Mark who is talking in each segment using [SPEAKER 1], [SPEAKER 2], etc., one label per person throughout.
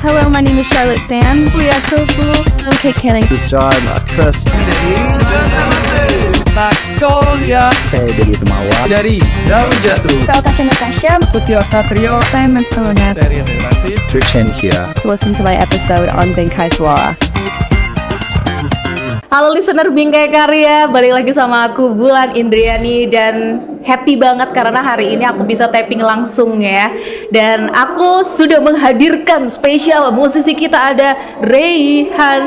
[SPEAKER 1] Hello, my name is Charlotte Sands. We are so cool. I'm Kate Canning.
[SPEAKER 2] This is John. It's Chris.
[SPEAKER 3] Magnolia
[SPEAKER 2] Hey, dari my wife.
[SPEAKER 3] dari daun jatuh
[SPEAKER 1] Natasha Natasha.
[SPEAKER 3] Putih Ostatrio
[SPEAKER 1] Simon Solonet.
[SPEAKER 3] dari Relasi
[SPEAKER 2] Trishan here.
[SPEAKER 1] To listen to my episode on Bengkai Suara.
[SPEAKER 4] Halo listener Bingkai Karya, balik lagi sama aku Bulan Indriani dan happy banget karena hari ini aku bisa tapping langsung ya. Dan aku sudah menghadirkan spesial musisi kita ada Rayhan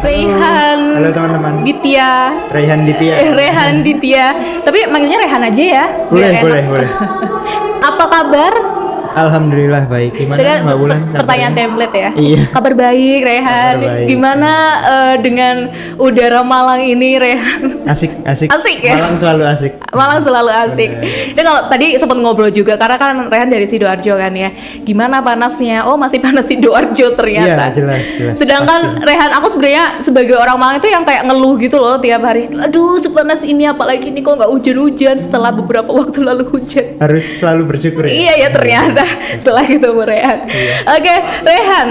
[SPEAKER 4] Rayhan
[SPEAKER 5] Halo teman-teman.
[SPEAKER 4] Ditya
[SPEAKER 5] Raihan Ditya.
[SPEAKER 4] Eh Rehan Ditya Tapi manggilnya Rehan aja ya biar
[SPEAKER 5] Boleh,
[SPEAKER 4] enak.
[SPEAKER 5] boleh, boleh.
[SPEAKER 4] Apa kabar?
[SPEAKER 5] Alhamdulillah baik. Gimana
[SPEAKER 4] Dengan
[SPEAKER 5] Mbak Bulan? kabarnya?
[SPEAKER 4] pertanyaan template ya
[SPEAKER 5] Iya.
[SPEAKER 4] Kabar baik Rehan
[SPEAKER 5] Kabar baik.
[SPEAKER 4] Gimana eh, dengan udara Malang ini Rehan?
[SPEAKER 5] Asik, asik.
[SPEAKER 4] Asik ya?
[SPEAKER 5] Malam selalu asik.
[SPEAKER 4] Malang selalu asik. Dan kalau tadi sempat ngobrol juga karena kan Rehan dari Sidoarjo kan ya. Gimana panasnya? Oh, masih panas Sidoarjo ternyata.
[SPEAKER 5] Iya, jelas, jelas.
[SPEAKER 4] Sedangkan Rehan aku sebenarnya sebagai orang Malang itu yang kayak ngeluh gitu loh tiap hari. Aduh, sepanas ini apalagi ini kok nggak hujan-hujan setelah beberapa waktu lalu hujan.
[SPEAKER 5] Harus selalu bersyukur
[SPEAKER 4] Iya
[SPEAKER 5] ya.
[SPEAKER 4] ya ternyata setelah ketemu Rehan.
[SPEAKER 5] Iya.
[SPEAKER 4] Oke, Rehan.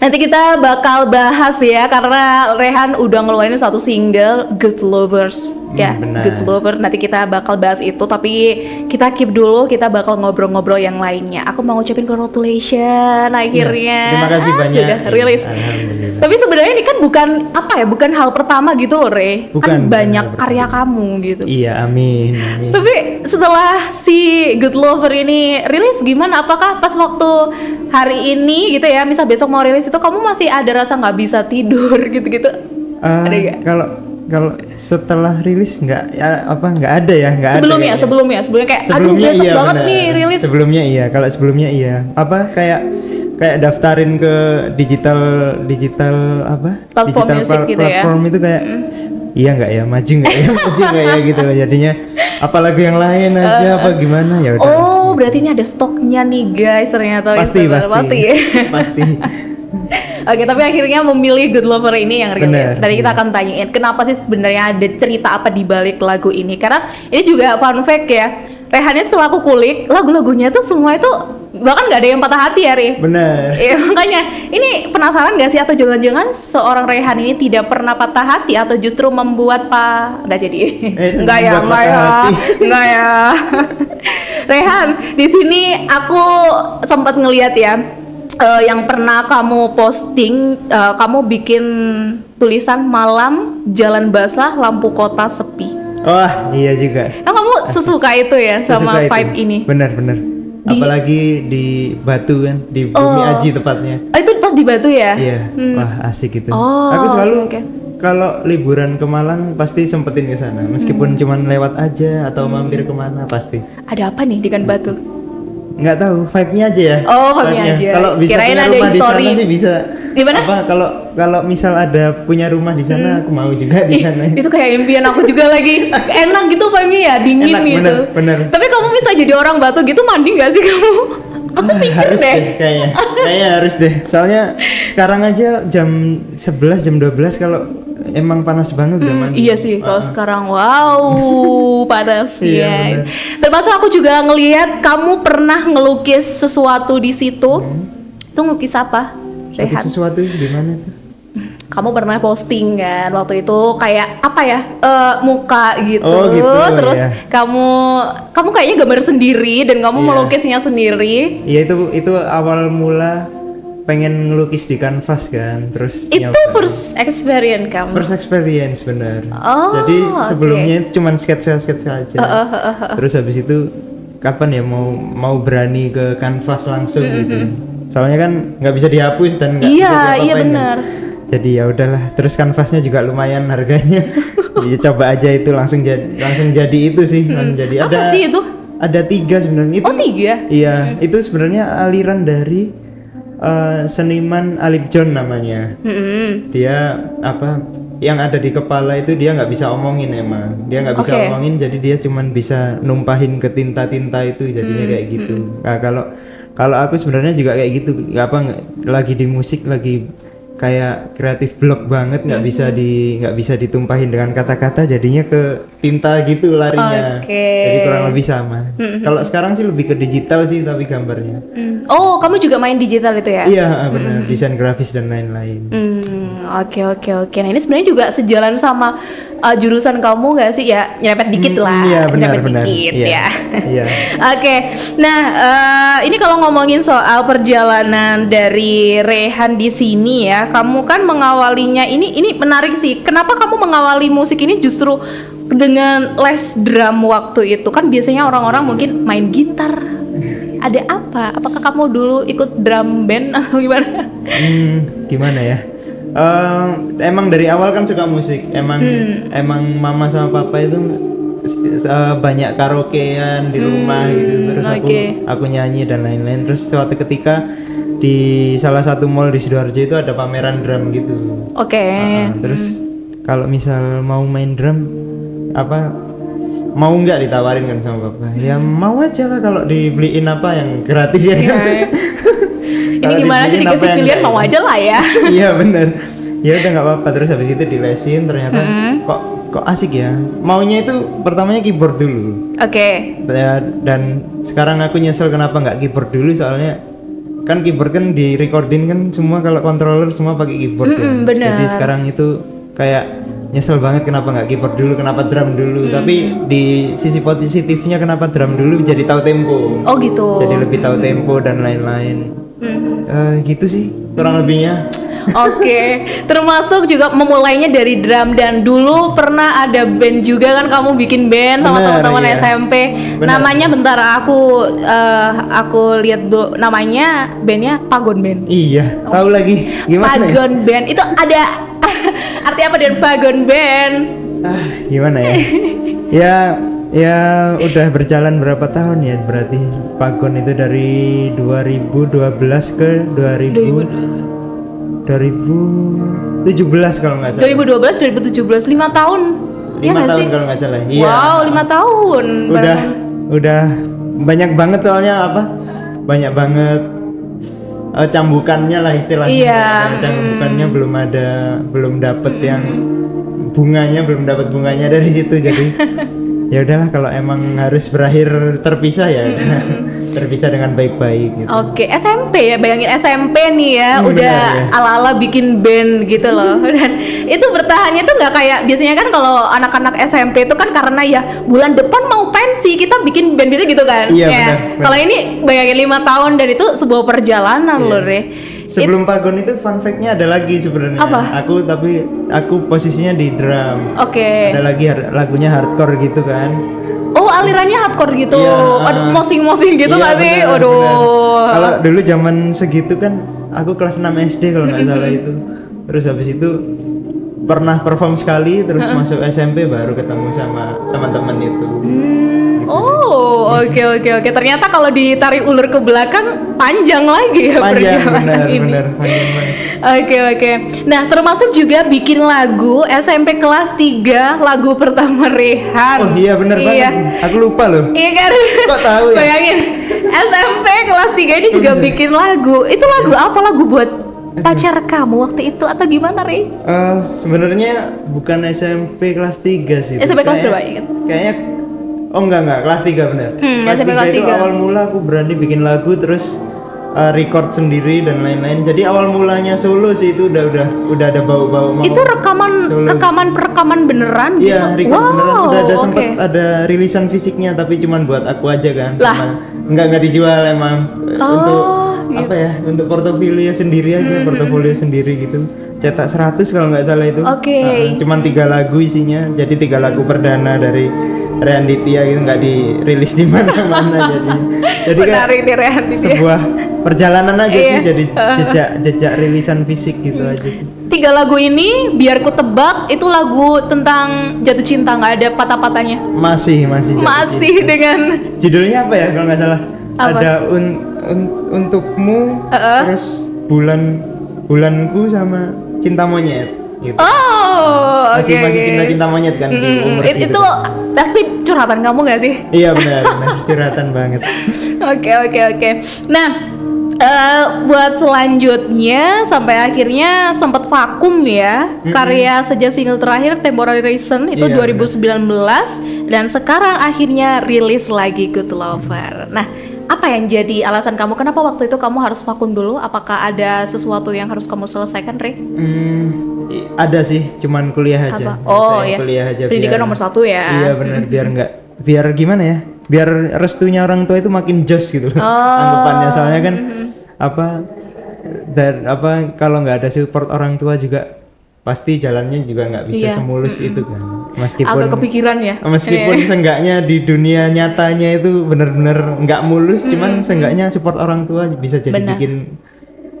[SPEAKER 4] Nanti kita bakal bahas ya karena Rehan udah ngeluarin satu single Good Lovers. Ya,
[SPEAKER 5] Hmm, benar.
[SPEAKER 4] Good Lover. Nanti kita bakal bahas itu tapi kita keep dulu, kita bakal ngobrol-ngobrol yang lainnya. Aku mau ngucapin congratulations akhirnya.
[SPEAKER 5] Iya, Terima kasih
[SPEAKER 4] Ah,
[SPEAKER 5] banyak.
[SPEAKER 4] Sudah
[SPEAKER 5] Iya,
[SPEAKER 4] rilis.
[SPEAKER 5] Alhamdulillah.
[SPEAKER 4] Tapi sebenarnya ini kan bukan apa ya, bukan hal pertama gitu loh, Re.
[SPEAKER 5] Bukan,
[SPEAKER 4] kan
[SPEAKER 5] bukan
[SPEAKER 4] banyak
[SPEAKER 5] hal pertama.
[SPEAKER 4] karya kamu gitu.
[SPEAKER 5] Iya, amin. amin. Eh,
[SPEAKER 4] Tapi setelah si Good Lover ini rilis gimana? Apakah pas waktu hari ini gitu ya, misal besok mau rilis itu kamu masih ada rasa nggak bisa tidur gitu-gitu?
[SPEAKER 5] Eh,
[SPEAKER 4] ada nggak?
[SPEAKER 5] kalau kalau setelah rilis nggak ya, apa nggak ada ya nggak ada
[SPEAKER 4] Sebelumnya,
[SPEAKER 5] kayaknya. iya,
[SPEAKER 4] sebelumnya, sebelumnya kayak aduh besok banget
[SPEAKER 5] benar.
[SPEAKER 4] nih rilis.
[SPEAKER 5] sebelumnya iya kalau sebelumnya iya apa kayak kayak daftarin ke digital digital apa
[SPEAKER 4] Platform
[SPEAKER 5] digital
[SPEAKER 4] music gitu ya.
[SPEAKER 5] platform itu kayak iya nggak ya maju nggak ya maju nggak ya gitu loh jadinya apa lagu yang lain aja apa gimana ya udah
[SPEAKER 4] Eh, Oh, berarti ini ada stoknya nih guys ternyata
[SPEAKER 5] pasti
[SPEAKER 4] Oh, Instagram. pasti.
[SPEAKER 5] pasti
[SPEAKER 4] ya.
[SPEAKER 5] pasti
[SPEAKER 4] Oke, tapi akhirnya memilih Good Lover ini yang rilis.
[SPEAKER 5] Bener,
[SPEAKER 4] Nanti kita akan tanyain kenapa sih sebenarnya ada cerita apa di balik lagu ini. Karena ini juga fun fact ya. Rehannya setelah aku kulik, lagu-lagunya tuh semua itu bahkan nggak ada yang patah hati ya, Re.
[SPEAKER 5] benar
[SPEAKER 4] Iya makanya ini penasaran gak sih atau jangan-jangan seorang Rehan ini tidak pernah patah hati atau justru membuat pak nggak jadi
[SPEAKER 5] Eh,
[SPEAKER 4] nggak ya nggak
[SPEAKER 5] membuat
[SPEAKER 4] ya
[SPEAKER 5] patah hati.
[SPEAKER 4] nggak ya Rehan di sini aku sempat ngeliat ya eh, yang pernah kamu posting eh, kamu bikin tulisan malam jalan basah lampu kota sepi
[SPEAKER 5] wah iya juga
[SPEAKER 4] Nah, kamu sesuka itu ya sama
[SPEAKER 5] Sesuka itu.
[SPEAKER 4] vibe ini
[SPEAKER 5] benar benar
[SPEAKER 4] Di-
[SPEAKER 5] apalagi di Batu kan di Bumi
[SPEAKER 4] Oh.
[SPEAKER 5] Aji tepatnya
[SPEAKER 4] Ah, itu pas di Batu ya
[SPEAKER 5] Iya,
[SPEAKER 4] Hmm.
[SPEAKER 5] wah asik gitu.
[SPEAKER 4] Oh,
[SPEAKER 5] aku selalu
[SPEAKER 4] oke, oke.
[SPEAKER 5] kalau liburan ke Malang pasti sempetin ke sana,
[SPEAKER 4] Hmm.
[SPEAKER 5] meskipun cuman lewat aja atau mampir kemana pasti.
[SPEAKER 4] ada apa nih dengan Batu
[SPEAKER 5] Nggak tahu, vibe-nya aja ya.
[SPEAKER 4] Oh, vibe-nya aja.
[SPEAKER 5] Kalau bisa
[SPEAKER 4] Kirain
[SPEAKER 5] punya
[SPEAKER 4] ada
[SPEAKER 5] rumah di
[SPEAKER 4] history.
[SPEAKER 5] sana sih bisa.
[SPEAKER 4] Gimana?
[SPEAKER 5] Apa kalau kalau misal ada punya rumah di sana,
[SPEAKER 4] Hmm.
[SPEAKER 5] aku mau juga di
[SPEAKER 4] Ih,
[SPEAKER 5] sana.
[SPEAKER 4] Iya, itu kayak impian aku juga lagi enak gitu vibe ya dingin
[SPEAKER 5] Enak,
[SPEAKER 4] gitu
[SPEAKER 5] bener, bener.
[SPEAKER 4] tapi kamu bisa jadi orang batu gitu mandi nggak sih kamu aku
[SPEAKER 5] Ah,
[SPEAKER 4] pikir
[SPEAKER 5] harus
[SPEAKER 4] deh
[SPEAKER 5] kayaknya. kayaknya harus deh. Soalnya sekarang aja jam 11 jam 12 kalau emang panas banget udah mandi. Ah.
[SPEAKER 4] Iya sih, kalau sekarang wow panas
[SPEAKER 5] Iya,
[SPEAKER 4] ya.
[SPEAKER 5] bener.
[SPEAKER 4] Termasuk aku juga ngelihat kamu pernah ngelukis sesuatu di situ.
[SPEAKER 5] Hmm.
[SPEAKER 4] Itu ngelukis apa?
[SPEAKER 5] Tapi
[SPEAKER 4] Rehat.
[SPEAKER 5] sesuatu gimana tuh?
[SPEAKER 4] kamu pernah posting kan waktu itu kayak apa ya eh, muka gitu,
[SPEAKER 5] Oh, gitu,
[SPEAKER 4] terus
[SPEAKER 5] ya.
[SPEAKER 4] kamu kamu kayaknya gambar sendiri dan kamu
[SPEAKER 5] Iya.
[SPEAKER 4] melukisnya sendiri
[SPEAKER 5] Iya itu itu awal mula pengen ngelukis di kanvas kan, terus
[SPEAKER 4] itu
[SPEAKER 5] nyoba.
[SPEAKER 4] first experience kamu
[SPEAKER 5] First experience bener.
[SPEAKER 4] Oh,
[SPEAKER 5] Jadi
[SPEAKER 4] oke.
[SPEAKER 5] sebelumnya itu cuman sketsa sketsa aja. Terus habis itu kapan ya mau mau berani ke kanvas langsung gitu. Soalnya kan nggak bisa dihapus dan
[SPEAKER 4] Iya,
[SPEAKER 5] nggak bisa diapa-apain
[SPEAKER 4] iya,
[SPEAKER 5] kan.
[SPEAKER 4] bener.
[SPEAKER 5] Jadi ya udahlah, terus kanvasnya juga lumayan harganya. Jadi coba aja itu langsung jadi langsung jadi itu sih, langsung jadi
[SPEAKER 4] Hmm. Apa
[SPEAKER 5] ada
[SPEAKER 4] sih itu?
[SPEAKER 5] Ada tiga sebenarnya. Itu
[SPEAKER 4] oh tiga Hmm.
[SPEAKER 5] Iya, itu sebenarnya aliran dari eh, seniman Alip John namanya.
[SPEAKER 4] Mm-mm.
[SPEAKER 5] Dia apa yang ada di kepala itu dia nggak bisa omongin emang. Dia nggak bisa
[SPEAKER 4] Oke.
[SPEAKER 5] omongin, jadi dia cuman bisa numpahin ke tinta-tinta itu jadinya
[SPEAKER 4] Hmm,
[SPEAKER 5] kayak gitu. Nah, kalau kalau aku sebenarnya juga kayak gitu, nggak apa nggak- lagi di musik lagi kayak kreatif blog banget nggak
[SPEAKER 4] Hmm,
[SPEAKER 5] bisa di nggak bisa ditumpahin dengan kata-kata jadinya ke tinta gitu larinya
[SPEAKER 4] Oke.
[SPEAKER 5] jadi kurang lebih sama kalau sekarang sih lebih ke digital sih tapi gambarnya
[SPEAKER 4] Hmm. Oh, kamu juga main digital itu ya?
[SPEAKER 5] iya benar desain grafis dan lain-lain
[SPEAKER 4] Hmm, oke oke oke. Nah ini sebenarnya juga sejalan sama uh, jurusan kamu nggak sih ya nyerempet dikit lah,
[SPEAKER 5] iya benar
[SPEAKER 4] nyerempet
[SPEAKER 5] benar
[SPEAKER 4] dikit
[SPEAKER 5] iya
[SPEAKER 4] ya.
[SPEAKER 5] iya
[SPEAKER 4] Oke, nah eh, ini kalau ngomongin soal perjalanan dari Rehan di sini ya, kamu kan mengawalinya ini ini menarik sih. Kenapa kamu mengawali musik ini justru dengan les drum waktu itu? Kan biasanya orang-orang mungkin main gitar. Ada apa? Apakah kamu dulu ikut drum band atau gimana?
[SPEAKER 5] Hmm, gimana ya? Ehm, emang dari awal kan suka musik. Emang emang mama sama papa itu sti- s- eh, banyak karaokean di rumah gitu. Terus aku
[SPEAKER 4] oke.
[SPEAKER 5] aku nyanyi dan lain-lain. Terus suatu ketika di salah satu mall di sidoarjo itu ada pameran drum gitu.
[SPEAKER 4] Oke.
[SPEAKER 5] Ah,
[SPEAKER 4] Hmm.
[SPEAKER 5] terus kalau misal mau main drum apa mau nggak ditawarin kan sama papa? Ya
[SPEAKER 4] Hmm.
[SPEAKER 5] mau aja lah kalau dibeliin apa yang gratis ya.
[SPEAKER 4] Iya. Ini
[SPEAKER 5] Kalau
[SPEAKER 4] gimana sih
[SPEAKER 5] dibeliin apa
[SPEAKER 4] dikasih
[SPEAKER 5] yang
[SPEAKER 4] pilihan
[SPEAKER 5] nggak
[SPEAKER 4] mau
[SPEAKER 5] ini?
[SPEAKER 4] aja lah ya.
[SPEAKER 5] iya bener ya udah nggak apa-apa terus habis itu dilesin ternyata
[SPEAKER 4] Hmm.
[SPEAKER 5] kok kok asik ya maunya itu pertamanya keyboard dulu
[SPEAKER 4] Oke.
[SPEAKER 5] Ya, dan sekarang aku nyesel kenapa nggak keyboard dulu soalnya kan keyboard kan di recording kan semua kalau controller semua pakai keyboard ya.
[SPEAKER 4] Mm-mm, bener.
[SPEAKER 5] jadi sekarang itu kayak nyesel banget kenapa nggak keyboard dulu kenapa drum dulu
[SPEAKER 4] Mm.
[SPEAKER 5] tapi di sisi positifnya kenapa drum dulu jadi tahu tempo
[SPEAKER 4] Oh gitu.
[SPEAKER 5] jadi lebih tahu tempo dan lain-lain
[SPEAKER 4] Mm.
[SPEAKER 5] Eh, gitu sih kurang lebihnya
[SPEAKER 4] Oke, termasuk juga memulainya dari drum dan dulu pernah ada band juga kan kamu bikin band sama
[SPEAKER 5] Benar,
[SPEAKER 4] teman-teman
[SPEAKER 5] iya.
[SPEAKER 4] SMP.
[SPEAKER 5] Benar.
[SPEAKER 4] Namanya bentar aku eh, aku lihat dulu namanya bandnya Pagon Band.
[SPEAKER 5] Iya, tahu lagi gimana? ya?
[SPEAKER 4] Pagon Band itu ada arti apa dan Pagon Band?
[SPEAKER 5] Ah, gimana ya? ya, ya udah berjalan berapa tahun ya berarti Pagon itu dari 2012 ke 2000 2017 kalau nggak salah.
[SPEAKER 4] 2012 2017 5 tahun. Iya
[SPEAKER 5] 5
[SPEAKER 4] nggak
[SPEAKER 5] tahun
[SPEAKER 4] sih?
[SPEAKER 5] kalau nggak salah. Iya.
[SPEAKER 4] Wow, 5 tahun.
[SPEAKER 5] udah
[SPEAKER 4] bareng-
[SPEAKER 5] udah banyak banget soalnya apa? Banyak banget eh, cambukannya lah istilahnya.
[SPEAKER 4] Iya,
[SPEAKER 5] Nah, Cambukannya belum ada, belum dapet yang bunganya, belum dapat bunganya dari situ. Jadi ya udahlah kalau emang harus berakhir terpisah ya terpisah dengan baik-baik gitu.
[SPEAKER 4] Oke, SMP ya, bayangin SMP nih ya,
[SPEAKER 5] Hmm,
[SPEAKER 4] udah
[SPEAKER 5] benar, ya. Hmm.
[SPEAKER 4] ala-ala bikin band gitu loh. Dan itu bertahannya tuh nggak kayak biasanya kan kalau anak-anak SMP itu kan karena ya bulan depan mau pensi kita bikin band gitu gitu kan.
[SPEAKER 5] Iya,
[SPEAKER 4] Ya.
[SPEAKER 5] benar, benar.
[SPEAKER 4] Kalau ini bayangin lima tahun dan itu sebuah perjalanan
[SPEAKER 5] Iya.
[SPEAKER 4] loh, Re.
[SPEAKER 5] Sebelum Pagon itu fun fact-nya ada lagi sebenarnya.
[SPEAKER 4] Apa?
[SPEAKER 5] Aku tapi aku posisinya di drum.
[SPEAKER 4] Oke.
[SPEAKER 5] Ada lagi har- lagunya hardcore gitu kan.
[SPEAKER 4] Oh, alirannya hardcore gitu.
[SPEAKER 5] Iya,
[SPEAKER 4] Aduh,
[SPEAKER 5] ah.
[SPEAKER 4] mosing-mosing gitu
[SPEAKER 5] Iya,
[SPEAKER 4] nggak sih?
[SPEAKER 5] benar,
[SPEAKER 4] Aduh.
[SPEAKER 5] benar. Kalau dulu zaman segitu kan aku kelas 6 SD kalau nggak salah itu. Terus habis itu pernah perform sekali terus masuk SMP baru ketemu sama teman-teman itu. Gitu
[SPEAKER 4] Hmm, Oh, oke oke oke. Ternyata kalau ditarik ulur ke belakang panjang lagi ya
[SPEAKER 5] Panjang
[SPEAKER 4] perjalanan
[SPEAKER 5] benar
[SPEAKER 4] ini.
[SPEAKER 5] benar panjang banget.
[SPEAKER 4] Oke oke. Nah, termasuk juga bikin lagu SMP kelas 3 lagu pertama Rehan.
[SPEAKER 5] Oh iya benar
[SPEAKER 4] Iya.
[SPEAKER 5] banget. Aku lupa loh.
[SPEAKER 4] Iya kan?
[SPEAKER 5] Kok tahu ya? Oh, iya.
[SPEAKER 4] Bayangin SMP kelas 3 ini juga bikin lagu. Itu lagu apa lagu buat pacar kamu waktu itu atau gimana, Re?
[SPEAKER 5] Eh, sebenarnya bukan SMP kelas 3 sih. itu.
[SPEAKER 4] SMP kelas
[SPEAKER 5] Kayaknya-
[SPEAKER 4] berapa, ingat?
[SPEAKER 5] Kayaknya Oh enggak enggak, kelas 3 benar.
[SPEAKER 4] Hmm,
[SPEAKER 5] kelas
[SPEAKER 4] SMP kelas
[SPEAKER 5] itu
[SPEAKER 4] tiga.
[SPEAKER 5] awal mula aku berani bikin lagu terus eh, record sendiri dan lain-lain. Jadi awal mulanya solo sih itu udah udah udah ada bau-bau mau.
[SPEAKER 4] itu rekaman
[SPEAKER 5] solo.
[SPEAKER 4] rekaman perekaman beneran
[SPEAKER 5] Oh, Iya,
[SPEAKER 4] gitu.
[SPEAKER 5] record
[SPEAKER 4] wow.
[SPEAKER 5] beneran udah ada
[SPEAKER 4] oke.
[SPEAKER 5] sempet ada rilisan fisiknya tapi cuman buat aku aja kan.
[SPEAKER 4] Lah.
[SPEAKER 5] Sama- Enggak enggak dijual emang Eh,
[SPEAKER 4] Oh,
[SPEAKER 5] untuk apa ya? Untuk portofolio sendiri aja, portofolio sendiri gitu. Cetak 100 kalau nggak salah itu.
[SPEAKER 4] Oke.
[SPEAKER 5] Heeh, cuman tiga lagu isinya. Jadi tiga lagu perdana dari Reanditya gitu nggak dirilis di mana-mana jadi. Jadi kayak
[SPEAKER 4] Menarik nih Rehan ini.
[SPEAKER 5] sebuah perjalanan aja sih
[SPEAKER 4] Iya.
[SPEAKER 5] jadi jejak jejak rilisan fisik gitu aja sih.
[SPEAKER 4] Tiga lagu ini biar ku tebak itu lagu tentang jatuh cinta nggak ada patah-patahnya.
[SPEAKER 5] Masih masih jatuh
[SPEAKER 4] Masih
[SPEAKER 5] cinta.
[SPEAKER 4] dengan
[SPEAKER 5] judulnya apa ya kalau nggak salah
[SPEAKER 4] Apa?
[SPEAKER 5] ada un- un- untukmu terus bulan bulanku sama cinta monyet gitu
[SPEAKER 4] Oh, oke.
[SPEAKER 5] masih masih
[SPEAKER 4] oke.
[SPEAKER 5] cinta cinta monyet kan di
[SPEAKER 4] Mm, mm,
[SPEAKER 5] umur
[SPEAKER 4] it-
[SPEAKER 5] segitu.
[SPEAKER 4] itu pasti curhatan kamu nggak sih?
[SPEAKER 5] iya benar benar curhatan banget
[SPEAKER 4] Oke oke oke. Nah, Eh, buat selanjutnya sampai akhirnya sempat vakum ya karya sejak single terakhir Temporary Reason itu
[SPEAKER 5] Iya,
[SPEAKER 4] 2019 dan sekarang akhirnya rilis lagi Good Lover. Nah, apa yang jadi alasan kamu kenapa waktu itu kamu harus vakum dulu? Apakah ada sesuatu yang harus kamu selesaikan, Rick?
[SPEAKER 5] Hmm, i- ada sih, cuman kuliah aja.
[SPEAKER 4] Apa? Oh,
[SPEAKER 5] Saya
[SPEAKER 4] iya.
[SPEAKER 5] Kuliah aja.
[SPEAKER 4] Pendidikan nomor satu ya.
[SPEAKER 5] Iya benar, biar nggak, biar gimana ya? Biar restunya orang tua itu makin jos gitu loh.
[SPEAKER 4] Oh,
[SPEAKER 5] Anggapannya soalnya kan
[SPEAKER 4] mhm.
[SPEAKER 5] apa dan apa kalau nggak ada support orang tua juga pasti jalannya juga nggak
[SPEAKER 4] Iya,
[SPEAKER 5] bisa semulus itu kan. Meskipun
[SPEAKER 4] Agak kepikiran ya.
[SPEAKER 5] meskipun seenggaknya di dunia nyatanya itu benar-benar nggak mulus, cuman seenggaknya support orang tua bisa jadi
[SPEAKER 4] Benar.
[SPEAKER 5] bikin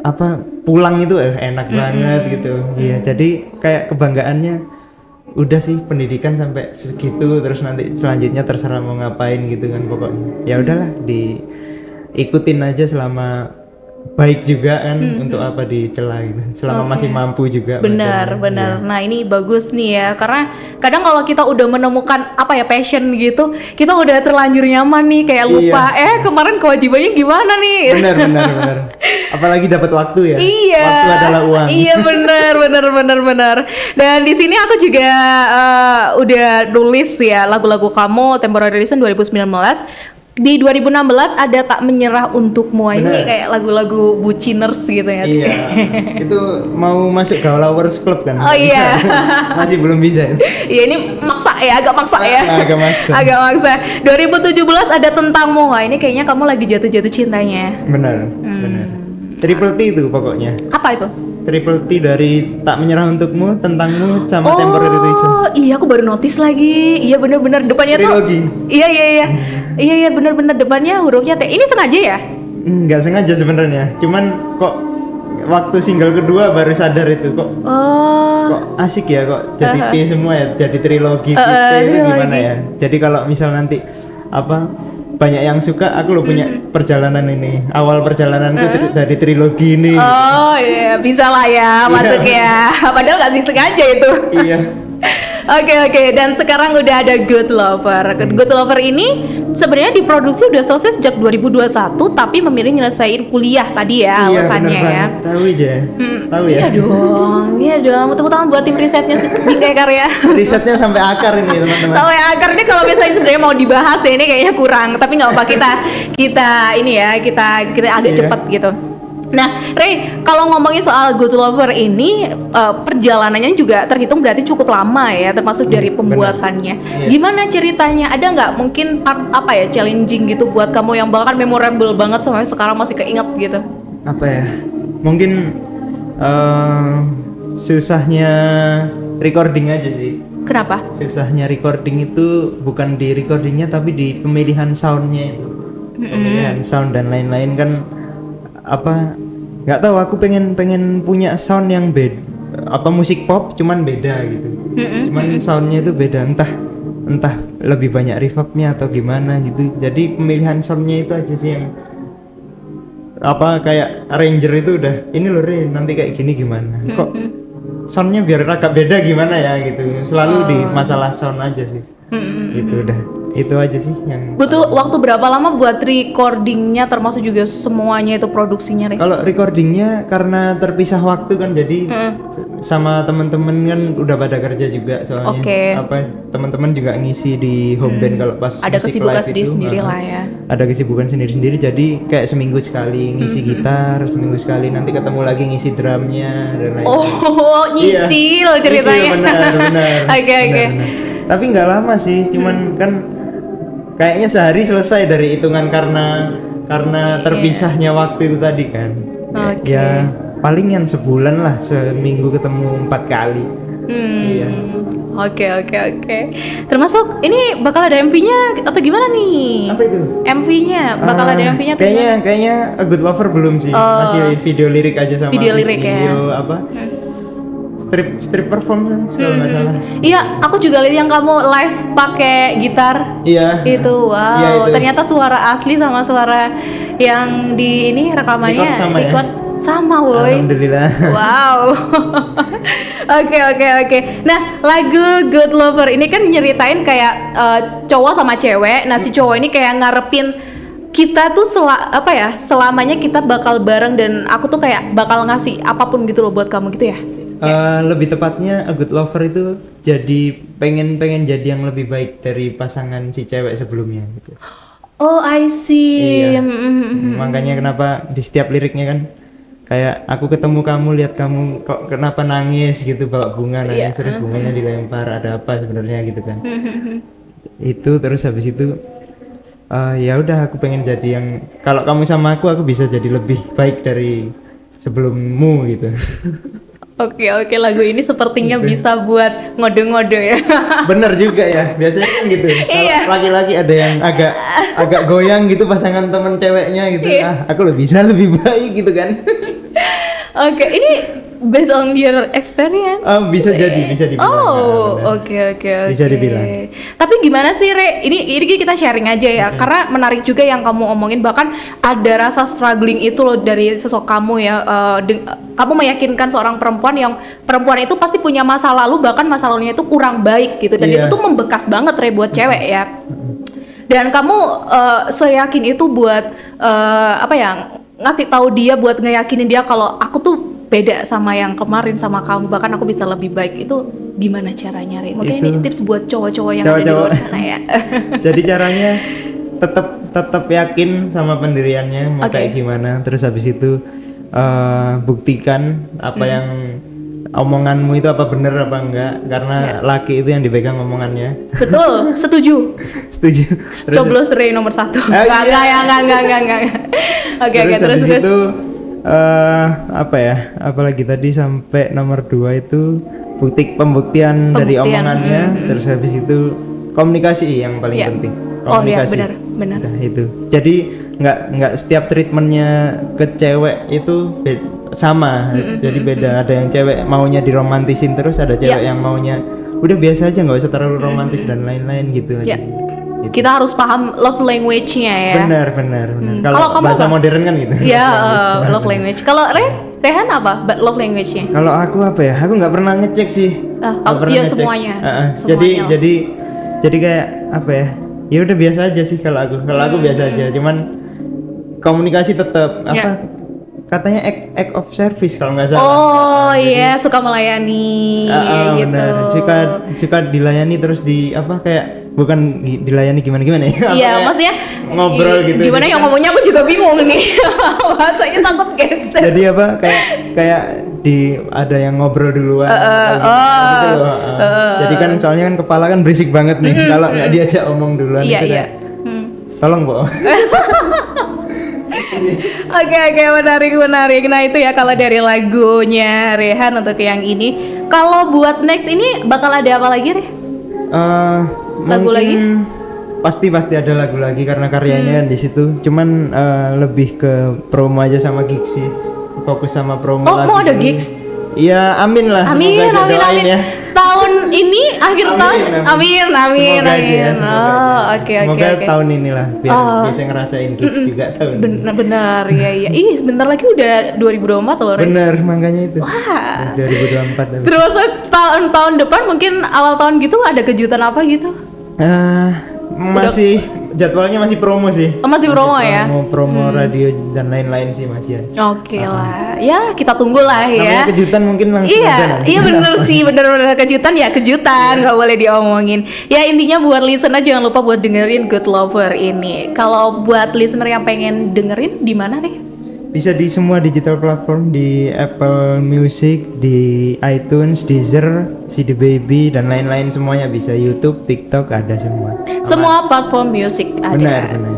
[SPEAKER 5] apa pulang itu eh, enak banget gitu. Iya, jadi kayak kebanggaannya udah sih pendidikan sampai segitu terus nanti selanjutnya terserah mau ngapain gitu kan pokoknya. Ya udahlah diikutin aja selama baik juga kan untuk apa dicela gitu. Selama masih mampu juga.
[SPEAKER 4] Benar,
[SPEAKER 5] maksudnya.
[SPEAKER 4] benar. Nah, ini bagus nih ya, karena kadang kalau kita udah menemukan apa ya passion gitu, kita udah terlanjur nyaman nih, kayak lupa, eh kemarin kewajibannya gimana nih?
[SPEAKER 5] Iya. benar benar benar apalagi dapat waktu ya
[SPEAKER 4] Iya.
[SPEAKER 5] waktu adalah uang
[SPEAKER 4] Iya benar, benar, benar, benar. Dan di sini aku juga eh, udah nulis ya lagu-lagu kamu Temporary Reason 2019. Di 2016 ada tak menyerah untukmu ini
[SPEAKER 5] Benar.
[SPEAKER 4] kayak lagu-lagu buciners gitu ya.
[SPEAKER 5] iya itu mau masuk Gawlowers Club kan
[SPEAKER 4] Oh, iya.
[SPEAKER 5] masih belum bisa
[SPEAKER 4] Ya ini maksa ya, agak maksa ya.
[SPEAKER 5] Nah, Agak maksa.
[SPEAKER 4] Agak maksa. 2017 ada tentangmu. Wah, ini kayaknya kamu lagi jatuh-jatuh cintanya.
[SPEAKER 5] benar
[SPEAKER 4] Hmm.
[SPEAKER 5] benar triple T itu pokoknya
[SPEAKER 4] Apa itu?
[SPEAKER 5] triple T dari tak menyerah untukmu tentangmu sama temporary reason
[SPEAKER 4] oh, iya aku baru notice lagi. Iya bener-bener depannya
[SPEAKER 5] trilogi
[SPEAKER 4] tuh. Iya iya iya. Iya iya bener-bener depannya hurufnya T. Ini sengaja ya?
[SPEAKER 5] nggak sengaja sebenarnya cuman kok waktu single kedua baru sadar itu kok
[SPEAKER 4] Oh.
[SPEAKER 5] kok asik ya kok jadi T semua ya jadi trilogi
[SPEAKER 4] Eh, eh,
[SPEAKER 5] T itu
[SPEAKER 4] Ah.
[SPEAKER 5] gimana
[SPEAKER 4] trilogi.
[SPEAKER 5] ya jadi kalau misal nanti apa banyak yang suka aku lo punya
[SPEAKER 4] Mm-hmm.
[SPEAKER 5] perjalanan ini awal perjalananku tri- dari trilogi ini
[SPEAKER 4] Ah. Oh iya, bisa lah ya masuk ya. Padahal nggak sih sengaja itu.
[SPEAKER 5] iya
[SPEAKER 4] Oke oke, dan sekarang udah ada Good Lover. Good Lover ini sebenarnya diproduksi udah selesai sejak 2021, tapi memilih nyelesain kuliah tadi ya
[SPEAKER 5] iya bener
[SPEAKER 4] alasannya ya.
[SPEAKER 5] banget. tahu aja
[SPEAKER 4] Hmm,
[SPEAKER 5] tahu ya
[SPEAKER 4] Iya dong, iya dong. Tepuk tangan buat tim risetnya si- Bingkai Karya.
[SPEAKER 5] risetnya sampai akar ini teman-teman
[SPEAKER 4] Soalnya akar ini kalau misalnya sebenarnya mau dibahas ya ini kayaknya kurang, tapi nggak apa kita kita ini ya kita kita agak
[SPEAKER 5] Iya.
[SPEAKER 4] cepat gitu. Nah, Rey, kalau ngomongin soal Good Lover ini eh, perjalanannya juga terhitung berarti cukup lama ya, termasuk dari pembuatannya.
[SPEAKER 5] Iya.
[SPEAKER 4] Gimana ceritanya? Ada nggak mungkin part apa ya challenging gitu buat kamu yang bahkan memorable banget sampai sekarang masih keinget gitu?
[SPEAKER 5] apa ya mungkin eh, susahnya recording aja sih
[SPEAKER 4] Kenapa?
[SPEAKER 5] susahnya recording itu bukan di recordingnya tapi di pemilihan soundnya itu pemilihan sound dan lain-lain kan apa nggak tahu aku pengen pengen punya sound yang beda apa musik pop cuman beda gitu
[SPEAKER 4] Mm-mm.
[SPEAKER 5] cuman soundnya itu beda entah entah lebih banyak reverbnya atau gimana gitu jadi pemilihan soundnya itu aja sih yang apa kayak ranger itu udah ini loh Re, nanti kayak gini gimana kok soundnya biar agak beda gimana ya gitu selalu di
[SPEAKER 4] Oh.
[SPEAKER 5] masalah sound aja sih gitu udah itu aja sih yang
[SPEAKER 4] Butuh waktu berapa lama buat recordingnya termasuk juga semuanya itu produksinya, Rey?
[SPEAKER 5] kalau recordingnya karena terpisah waktu kan jadi s- sama teman-teman kan udah pada kerja juga soalnya
[SPEAKER 4] Oke. Mm.
[SPEAKER 5] apa teman-teman juga ngisi di home band kalau pas
[SPEAKER 4] Ada
[SPEAKER 5] musik
[SPEAKER 4] kesibukan
[SPEAKER 5] live
[SPEAKER 4] sendiri
[SPEAKER 5] itu,
[SPEAKER 4] sendiri
[SPEAKER 5] uh-uh.
[SPEAKER 4] lah ya.
[SPEAKER 5] ada kesibukan sendiri-sendiri jadi kayak seminggu sekali ngisi gitar seminggu sekali nanti ketemu lagi ngisi drumnya dan lain
[SPEAKER 4] Oh, nyicil
[SPEAKER 5] Iya. Nyicil,
[SPEAKER 4] ceritanya.
[SPEAKER 5] benar benar
[SPEAKER 4] Oke, Hmm.
[SPEAKER 5] Benar,
[SPEAKER 4] oke.
[SPEAKER 5] benar. tapi nggak lama sih cuman kan kayaknya sehari selesai dari hitungan karena karena terpisahnya waktu itu tadi kan Ya-
[SPEAKER 4] Iya. Oke.
[SPEAKER 5] ya paling yang sebulan lah seminggu ketemu empat kali
[SPEAKER 4] Hmm.
[SPEAKER 5] Iya.
[SPEAKER 4] Oke, oke, oke. Termasuk ini bakal ada MV-nya atau gimana nih?
[SPEAKER 5] apa itu
[SPEAKER 4] MV-nya bakal ada
[SPEAKER 5] Ah,
[SPEAKER 4] MV-nya atau
[SPEAKER 5] kayaknya kayaknya A Good Lover belum sih
[SPEAKER 4] Oh.
[SPEAKER 5] masih video lirik aja sama
[SPEAKER 4] Video lirik ya.
[SPEAKER 5] video apa strip strip performance kan, kalau nggak salah
[SPEAKER 4] gimana? Iya, aku juga lihat yang kamu live pakai gitar.
[SPEAKER 5] iya
[SPEAKER 4] Itu wow,
[SPEAKER 5] Iya, itu.
[SPEAKER 4] ternyata suara asli sama suara yang di ini rekamannya
[SPEAKER 5] Record sama ya?
[SPEAKER 4] sama woi.
[SPEAKER 5] alhamdulillah
[SPEAKER 4] Wow. Oke oke oke. Nah lagu Good Lover ini kan nyeritain kayak eh, cowok sama cewek. Nah si cowok ini kayak ngarepin kita tuh sela- apa ya selamanya kita bakal bareng dan aku tuh kayak bakal ngasih apapun gitu loh buat kamu gitu ya
[SPEAKER 5] Eh, lebih tepatnya a good lover itu jadi pengen pengen jadi yang lebih baik dari pasangan si cewek sebelumnya gitu.
[SPEAKER 4] oh I see
[SPEAKER 5] Iya.
[SPEAKER 4] Mm, mm, mm, mm.
[SPEAKER 5] Makanya kenapa di setiap liriknya kan kayak aku ketemu kamu lihat kamu kok kenapa nangis gitu bawa bunga nangis terus bunganya dilempar ada apa sebenarnya gitu kan. itu terus habis itu eh, ya udah aku pengen jadi yang kalau kamu sama aku aku bisa jadi lebih baik dari sebelummu gitu.
[SPEAKER 4] Oke oke lagu ini sepertinya bisa buat ngode-ngode ya.
[SPEAKER 5] Bener juga ya, biasanya kan gitu. Kalau
[SPEAKER 4] Iya.
[SPEAKER 5] laki-laki ada yang agak agak goyang gitu pasangan temen ceweknya gitu.
[SPEAKER 4] Iya.
[SPEAKER 5] Ah, aku lebih bisa lebih baik gitu kan.
[SPEAKER 4] oke ini based on your experience.
[SPEAKER 5] Ah, bisa jadi, bisa dibilang.
[SPEAKER 4] Iya. Oh,
[SPEAKER 5] Ah, bener.
[SPEAKER 4] oke oke oke.
[SPEAKER 5] Bisa dibilang.
[SPEAKER 4] Tapi gimana sih Re? Ini ini kita sharing aja ya, karena menarik juga yang kamu omongin. Bahkan ada rasa struggling itu loh dari sosok kamu ya. Eh, deng- kamu meyakinkan seorang perempuan yang perempuan itu pasti punya masa lalu, bahkan masa lalunya itu kurang baik gitu. Dan
[SPEAKER 5] Iya.
[SPEAKER 4] itu tuh membekas banget Re buat cewek ya. Dan kamu eh, seyakin itu buat eh, apa ya? Ngasih tahu dia buat ngeyakinin dia kalau aku tuh beda sama yang kemarin sama kamu bahkan aku bisa lebih baik itu gimana caranya Rin? Mungkin ini
[SPEAKER 5] Itu.
[SPEAKER 4] tips buat cowok-cowok yang ada di
[SPEAKER 5] Cowok-cowok.
[SPEAKER 4] luar sana ya.
[SPEAKER 5] Jadi caranya tetap tetap yakin sama pendiriannya mau
[SPEAKER 4] Oke.
[SPEAKER 5] kayak gimana. Terus habis itu eh, buktikan apa
[SPEAKER 4] Hmm.
[SPEAKER 5] yang omonganmu itu apa bener apa enggak karena
[SPEAKER 4] Ya.
[SPEAKER 5] laki itu yang dipegang omongannya.
[SPEAKER 4] Betul, setuju.
[SPEAKER 5] Setuju. Terus-
[SPEAKER 4] Coblos Ray nomor satu.
[SPEAKER 5] Ah,
[SPEAKER 4] Enggak,
[SPEAKER 5] iya.
[SPEAKER 4] enggak, ya, enggak, enggak, enggak, enggak. Oke, oke, terus,
[SPEAKER 5] habis
[SPEAKER 4] terus.
[SPEAKER 5] itu eh, apa ya apalagi tadi sampai nomor dua itu bukti pembuktian, dari
[SPEAKER 4] Pembuktian,
[SPEAKER 5] omongannya
[SPEAKER 4] mm, mm.
[SPEAKER 5] terus habis itu komunikasi yang paling
[SPEAKER 4] Iya.
[SPEAKER 5] penting
[SPEAKER 4] Oh iya,
[SPEAKER 5] komunikasi
[SPEAKER 4] benar, benar.
[SPEAKER 5] Nah, itu jadi nggak nggak setiap treatmentnya ke cewek itu be- sama
[SPEAKER 4] Mm-hmm.
[SPEAKER 5] jadi beda ada yang cewek maunya diromantisin terus ada cewek
[SPEAKER 4] Iya.
[SPEAKER 5] yang maunya udah biasa aja nggak usah
[SPEAKER 4] Mm-hmm.
[SPEAKER 5] terlalu romantis dan lain-lain gitu
[SPEAKER 4] Iya.
[SPEAKER 5] aja Gitu.
[SPEAKER 4] Kita harus paham love language-nya ya.
[SPEAKER 5] Benar, benar,
[SPEAKER 4] Hmm.
[SPEAKER 5] benar.
[SPEAKER 4] Kalau
[SPEAKER 5] Kalau
[SPEAKER 4] kamu
[SPEAKER 5] bahasa
[SPEAKER 4] apa?
[SPEAKER 5] modern kan gitu.
[SPEAKER 4] Iya,
[SPEAKER 5] Language,
[SPEAKER 4] eh, love language. Kalau Re, Rehan apa? Ba- Love language-nya?
[SPEAKER 5] Kalau aku apa ya? Aku nggak pernah ngecek sih.
[SPEAKER 4] Ah,
[SPEAKER 5] Nggak
[SPEAKER 4] kamu-
[SPEAKER 5] pernah
[SPEAKER 4] iya,
[SPEAKER 5] ngecek.
[SPEAKER 4] semuanya.
[SPEAKER 5] Heeh.
[SPEAKER 4] Semuanya
[SPEAKER 5] Jadi
[SPEAKER 4] lah.
[SPEAKER 5] jadi jadi kayak apa ya? Ya udah biasa aja sih kalau aku. Kalau aku biasa
[SPEAKER 4] Hmm.
[SPEAKER 5] aja, cuman komunikasi tetap apa?
[SPEAKER 4] Iya.
[SPEAKER 5] Katanya act, act of service kalau nggak salah.
[SPEAKER 4] Oh iya, suka melayani
[SPEAKER 5] Ah, ah,
[SPEAKER 4] kayak gitu.
[SPEAKER 5] benar. Suka suka dilayani terus di apa kayak bukan di- dilayani gimana gimana ya? Apa
[SPEAKER 4] Iya,
[SPEAKER 5] kayak
[SPEAKER 4] maksudnya
[SPEAKER 5] ngobrol
[SPEAKER 4] i-
[SPEAKER 5] gitu.
[SPEAKER 4] Gimana
[SPEAKER 5] Jadi
[SPEAKER 4] yang
[SPEAKER 5] kan-
[SPEAKER 4] ngomongnya aku juga bingung nih. Bahasanya takut geser.
[SPEAKER 5] jadi apa kayak kayak di ada yang ngobrol duluan apa
[SPEAKER 4] oh.
[SPEAKER 5] gitu loh, ah. jadi kan soalnya kan kepala kan berisik banget nih kalau nggak diajak omong duluan
[SPEAKER 4] Iya,
[SPEAKER 5] itu
[SPEAKER 4] iya.
[SPEAKER 5] kayak, tolong bo Eh,
[SPEAKER 4] Oke oke menarik menarik. Nah itu ya kalau dari lagunya Rehan untuk yang ini. Kalau buat next ini bakal ada apa lagi nih?
[SPEAKER 5] Eh,
[SPEAKER 4] Lagu
[SPEAKER 5] mungkin
[SPEAKER 4] lagi? Hmm.
[SPEAKER 5] pasti pasti ada lagu lagi karena karyanya di situ cuman eh, lebih ke promo aja sama gigs sih fokus sama promo
[SPEAKER 4] Oh,
[SPEAKER 5] lagi
[SPEAKER 4] mau ada
[SPEAKER 5] dulu.
[SPEAKER 4] gigs?
[SPEAKER 5] Iya, amin lah.
[SPEAKER 4] Amin
[SPEAKER 5] Semoga aja
[SPEAKER 4] amin
[SPEAKER 5] doain
[SPEAKER 4] amin.
[SPEAKER 5] ya.
[SPEAKER 4] Tahun ini akhir
[SPEAKER 5] Amin,
[SPEAKER 4] tahun. Amin
[SPEAKER 5] amin.
[SPEAKER 4] amin
[SPEAKER 5] Semoga aja ya,
[SPEAKER 4] amin.
[SPEAKER 5] semoga aja.
[SPEAKER 4] Oh oke oke
[SPEAKER 5] Semoga
[SPEAKER 4] oke.
[SPEAKER 5] tahun inilah biar
[SPEAKER 4] Oh.
[SPEAKER 5] bisa ngerasain gigs juga tahun ini.
[SPEAKER 4] Benar benar ya ya. Ih sebentar lagi udah 2024 loh Rehan.
[SPEAKER 5] Bener, makanya itu.
[SPEAKER 4] Wah.
[SPEAKER 5] 2024 habis.
[SPEAKER 4] Terus tahun-tahun depan mungkin awal tahun gitu ada kejutan apa gitu?
[SPEAKER 5] Eh, masih jadwalnya masih promo sih.
[SPEAKER 4] Oh, masih promo ya?
[SPEAKER 5] Promo, promo radio dan lain-lain sih masih ada.
[SPEAKER 4] Oke lah, ya kita tunggulah ya.
[SPEAKER 5] Namanya kejutan mungkin langsung
[SPEAKER 4] Iya,
[SPEAKER 5] aja nanti.
[SPEAKER 4] iya bener sih, bener-bener kejutan ya
[SPEAKER 5] Iya.
[SPEAKER 4] kejutan, nggak boleh diomongin. Ya intinya buat listener jangan lupa buat dengerin Good Lover ini. Kalau buat listener yang pengen dengerin di mana nih?
[SPEAKER 5] Bisa di semua digital platform di Apple Music, di iTunes, Deezer, CD Baby dan lain-lain semuanya bisa YouTube, TikTok ada semua.
[SPEAKER 4] Semua platform music ada.
[SPEAKER 5] Benar, benar.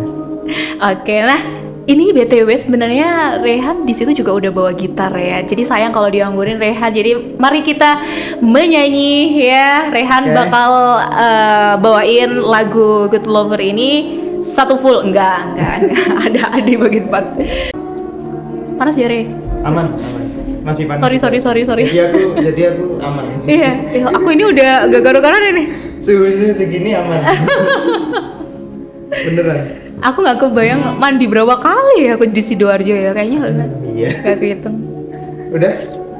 [SPEAKER 4] Oke, nah ini BTW sebenarnya Rehan di situ juga udah bawa gitar ya. Jadi sayang kalau dianggurin Rehan. Jadi mari kita menyanyi ya. Rehan
[SPEAKER 5] Oke.
[SPEAKER 4] bakal eh, bawain lagu Good Lover ini satu full enggak, enggak, enggak. ada ada di bagian part. Panas ya, Re?
[SPEAKER 5] Aman, aman. Masih panas. Iya.
[SPEAKER 4] Sorry, sorry, sorry, sorry.
[SPEAKER 5] Jadi aku, jadi aku aman.
[SPEAKER 4] Iya, iya, aku ini udah gak garu-garu nih.
[SPEAKER 5] Suhu suhu segini aman. Beneran?
[SPEAKER 4] Aku nggak kebayang mandi berapa kali ya aku di sidoarjo ya kayaknya nggak-
[SPEAKER 5] Iya.
[SPEAKER 4] nggak kehitung.
[SPEAKER 5] Udah?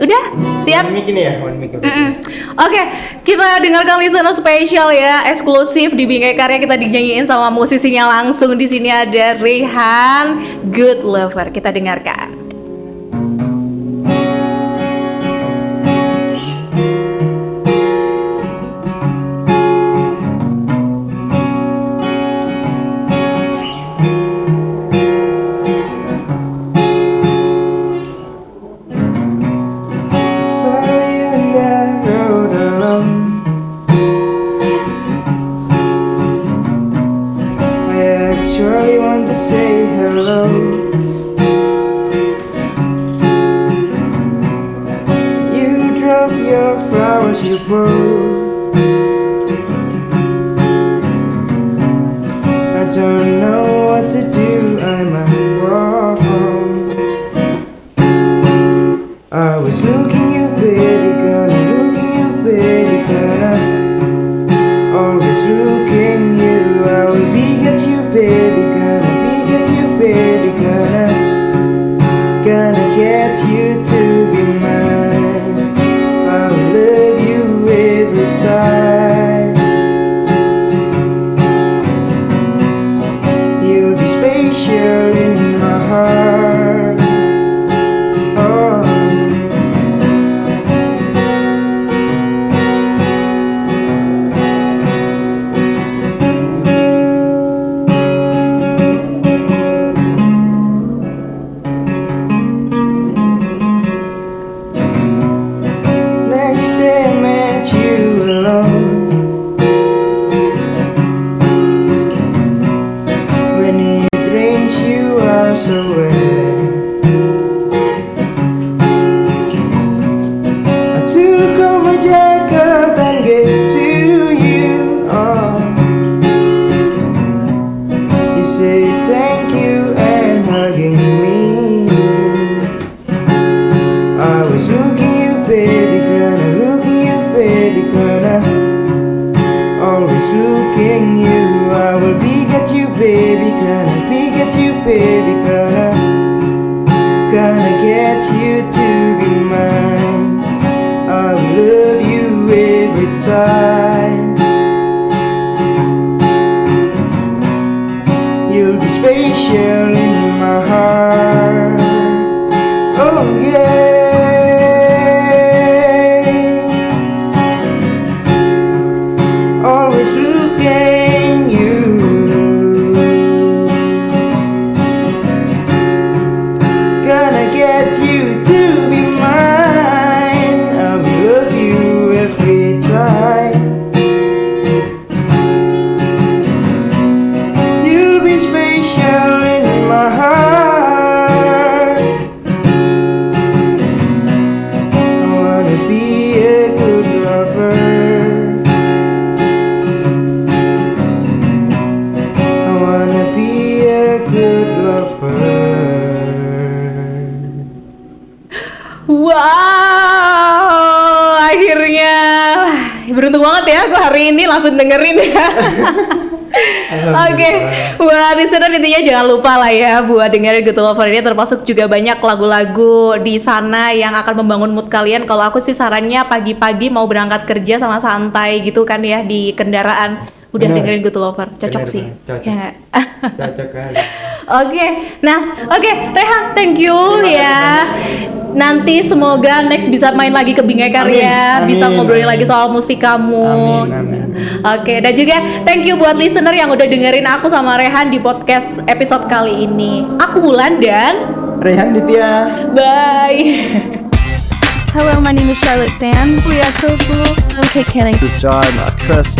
[SPEAKER 4] Udah? Siap?
[SPEAKER 5] One mic ini ya, one mic.
[SPEAKER 4] Mm-mm. Oke, kita dengarkan listener spesial ya, eksklusif di Bingkai Karya kita dinyanyiin sama musisinya langsung di sini ada Rehan Good Lover. Kita dengarkan.
[SPEAKER 5] Sayang dan kau dalam I actually want to say hello You drop your flowers you broke I don't know what to do, I might walk home I was looking at baby girl, looking at baby girl. I'm Always looking you, I will be at you, baby girl, be at you, baby girl. I'm Gonna get you to be mine. I will love you every time. You'll be special in my heart. Oh. Next day I met you alone. When it rains, you are so wet. I took off my jacket and gave to you. Oh. You say thank you and hugging me. I was looking at you, baby girl, and looking at you, baby girl. I'm always looking you. I will be at you, baby girl, and be at you, baby girl. I'm gonna get you to be mine. I will love you every time. You'll be special in my heart. Oh yeah. Always looking you. Gonna get you to be mine. I love you every time. You'll be special in my heart. I wanna be a good lover. I wanna be a good lover.
[SPEAKER 4] Wow, akhirnya beruntung banget ya aku hari ini langsung dengerin ya. Oke, buat listener intinya jangan lupa lah ya buat dengerin Good Lover ini termasuk juga banyak lagu-lagu di sana yang akan membangun mood kalian. Kalau aku sih sarannya pagi-pagi mau berangkat kerja sama santai gitu kan ya di kendaraan udah
[SPEAKER 5] Benar.
[SPEAKER 4] dengerin Good Lover, cocok
[SPEAKER 5] Benar
[SPEAKER 4] sih.
[SPEAKER 5] banget, cocok.
[SPEAKER 4] Ya nggak?
[SPEAKER 5] Cocok kali.
[SPEAKER 4] Oke, nah oke Rehan, thank you ya. Nanti semoga next bisa main lagi ke Bingai Karya,
[SPEAKER 5] Amin,
[SPEAKER 4] bisa
[SPEAKER 5] amin,
[SPEAKER 4] ngobrolin
[SPEAKER 5] amin.
[SPEAKER 4] lagi soal musik kamu.
[SPEAKER 5] Amin, amin.
[SPEAKER 4] Oke, dan juga thank you buat listener yang udah dengerin aku sama Rehan di podcast episode kali ini. Aku Wulan dan
[SPEAKER 5] Rehan Ditya.
[SPEAKER 4] bye.
[SPEAKER 1] Hello, my name is Charlotte Sands. We are so cool. I'm Kate Canning.
[SPEAKER 2] This John Chris.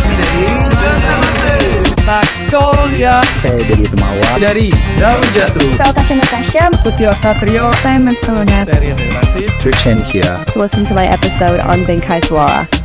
[SPEAKER 3] Magnolia
[SPEAKER 2] Saya dari Temawa.
[SPEAKER 3] dari daun jatuh.
[SPEAKER 1] Natasha Natasha.
[SPEAKER 3] Putih Ostatrio
[SPEAKER 1] I'm Matsona.
[SPEAKER 3] dari Relatif.
[SPEAKER 2] Trishan here.
[SPEAKER 6] to listen to my episode on Benkai Suara.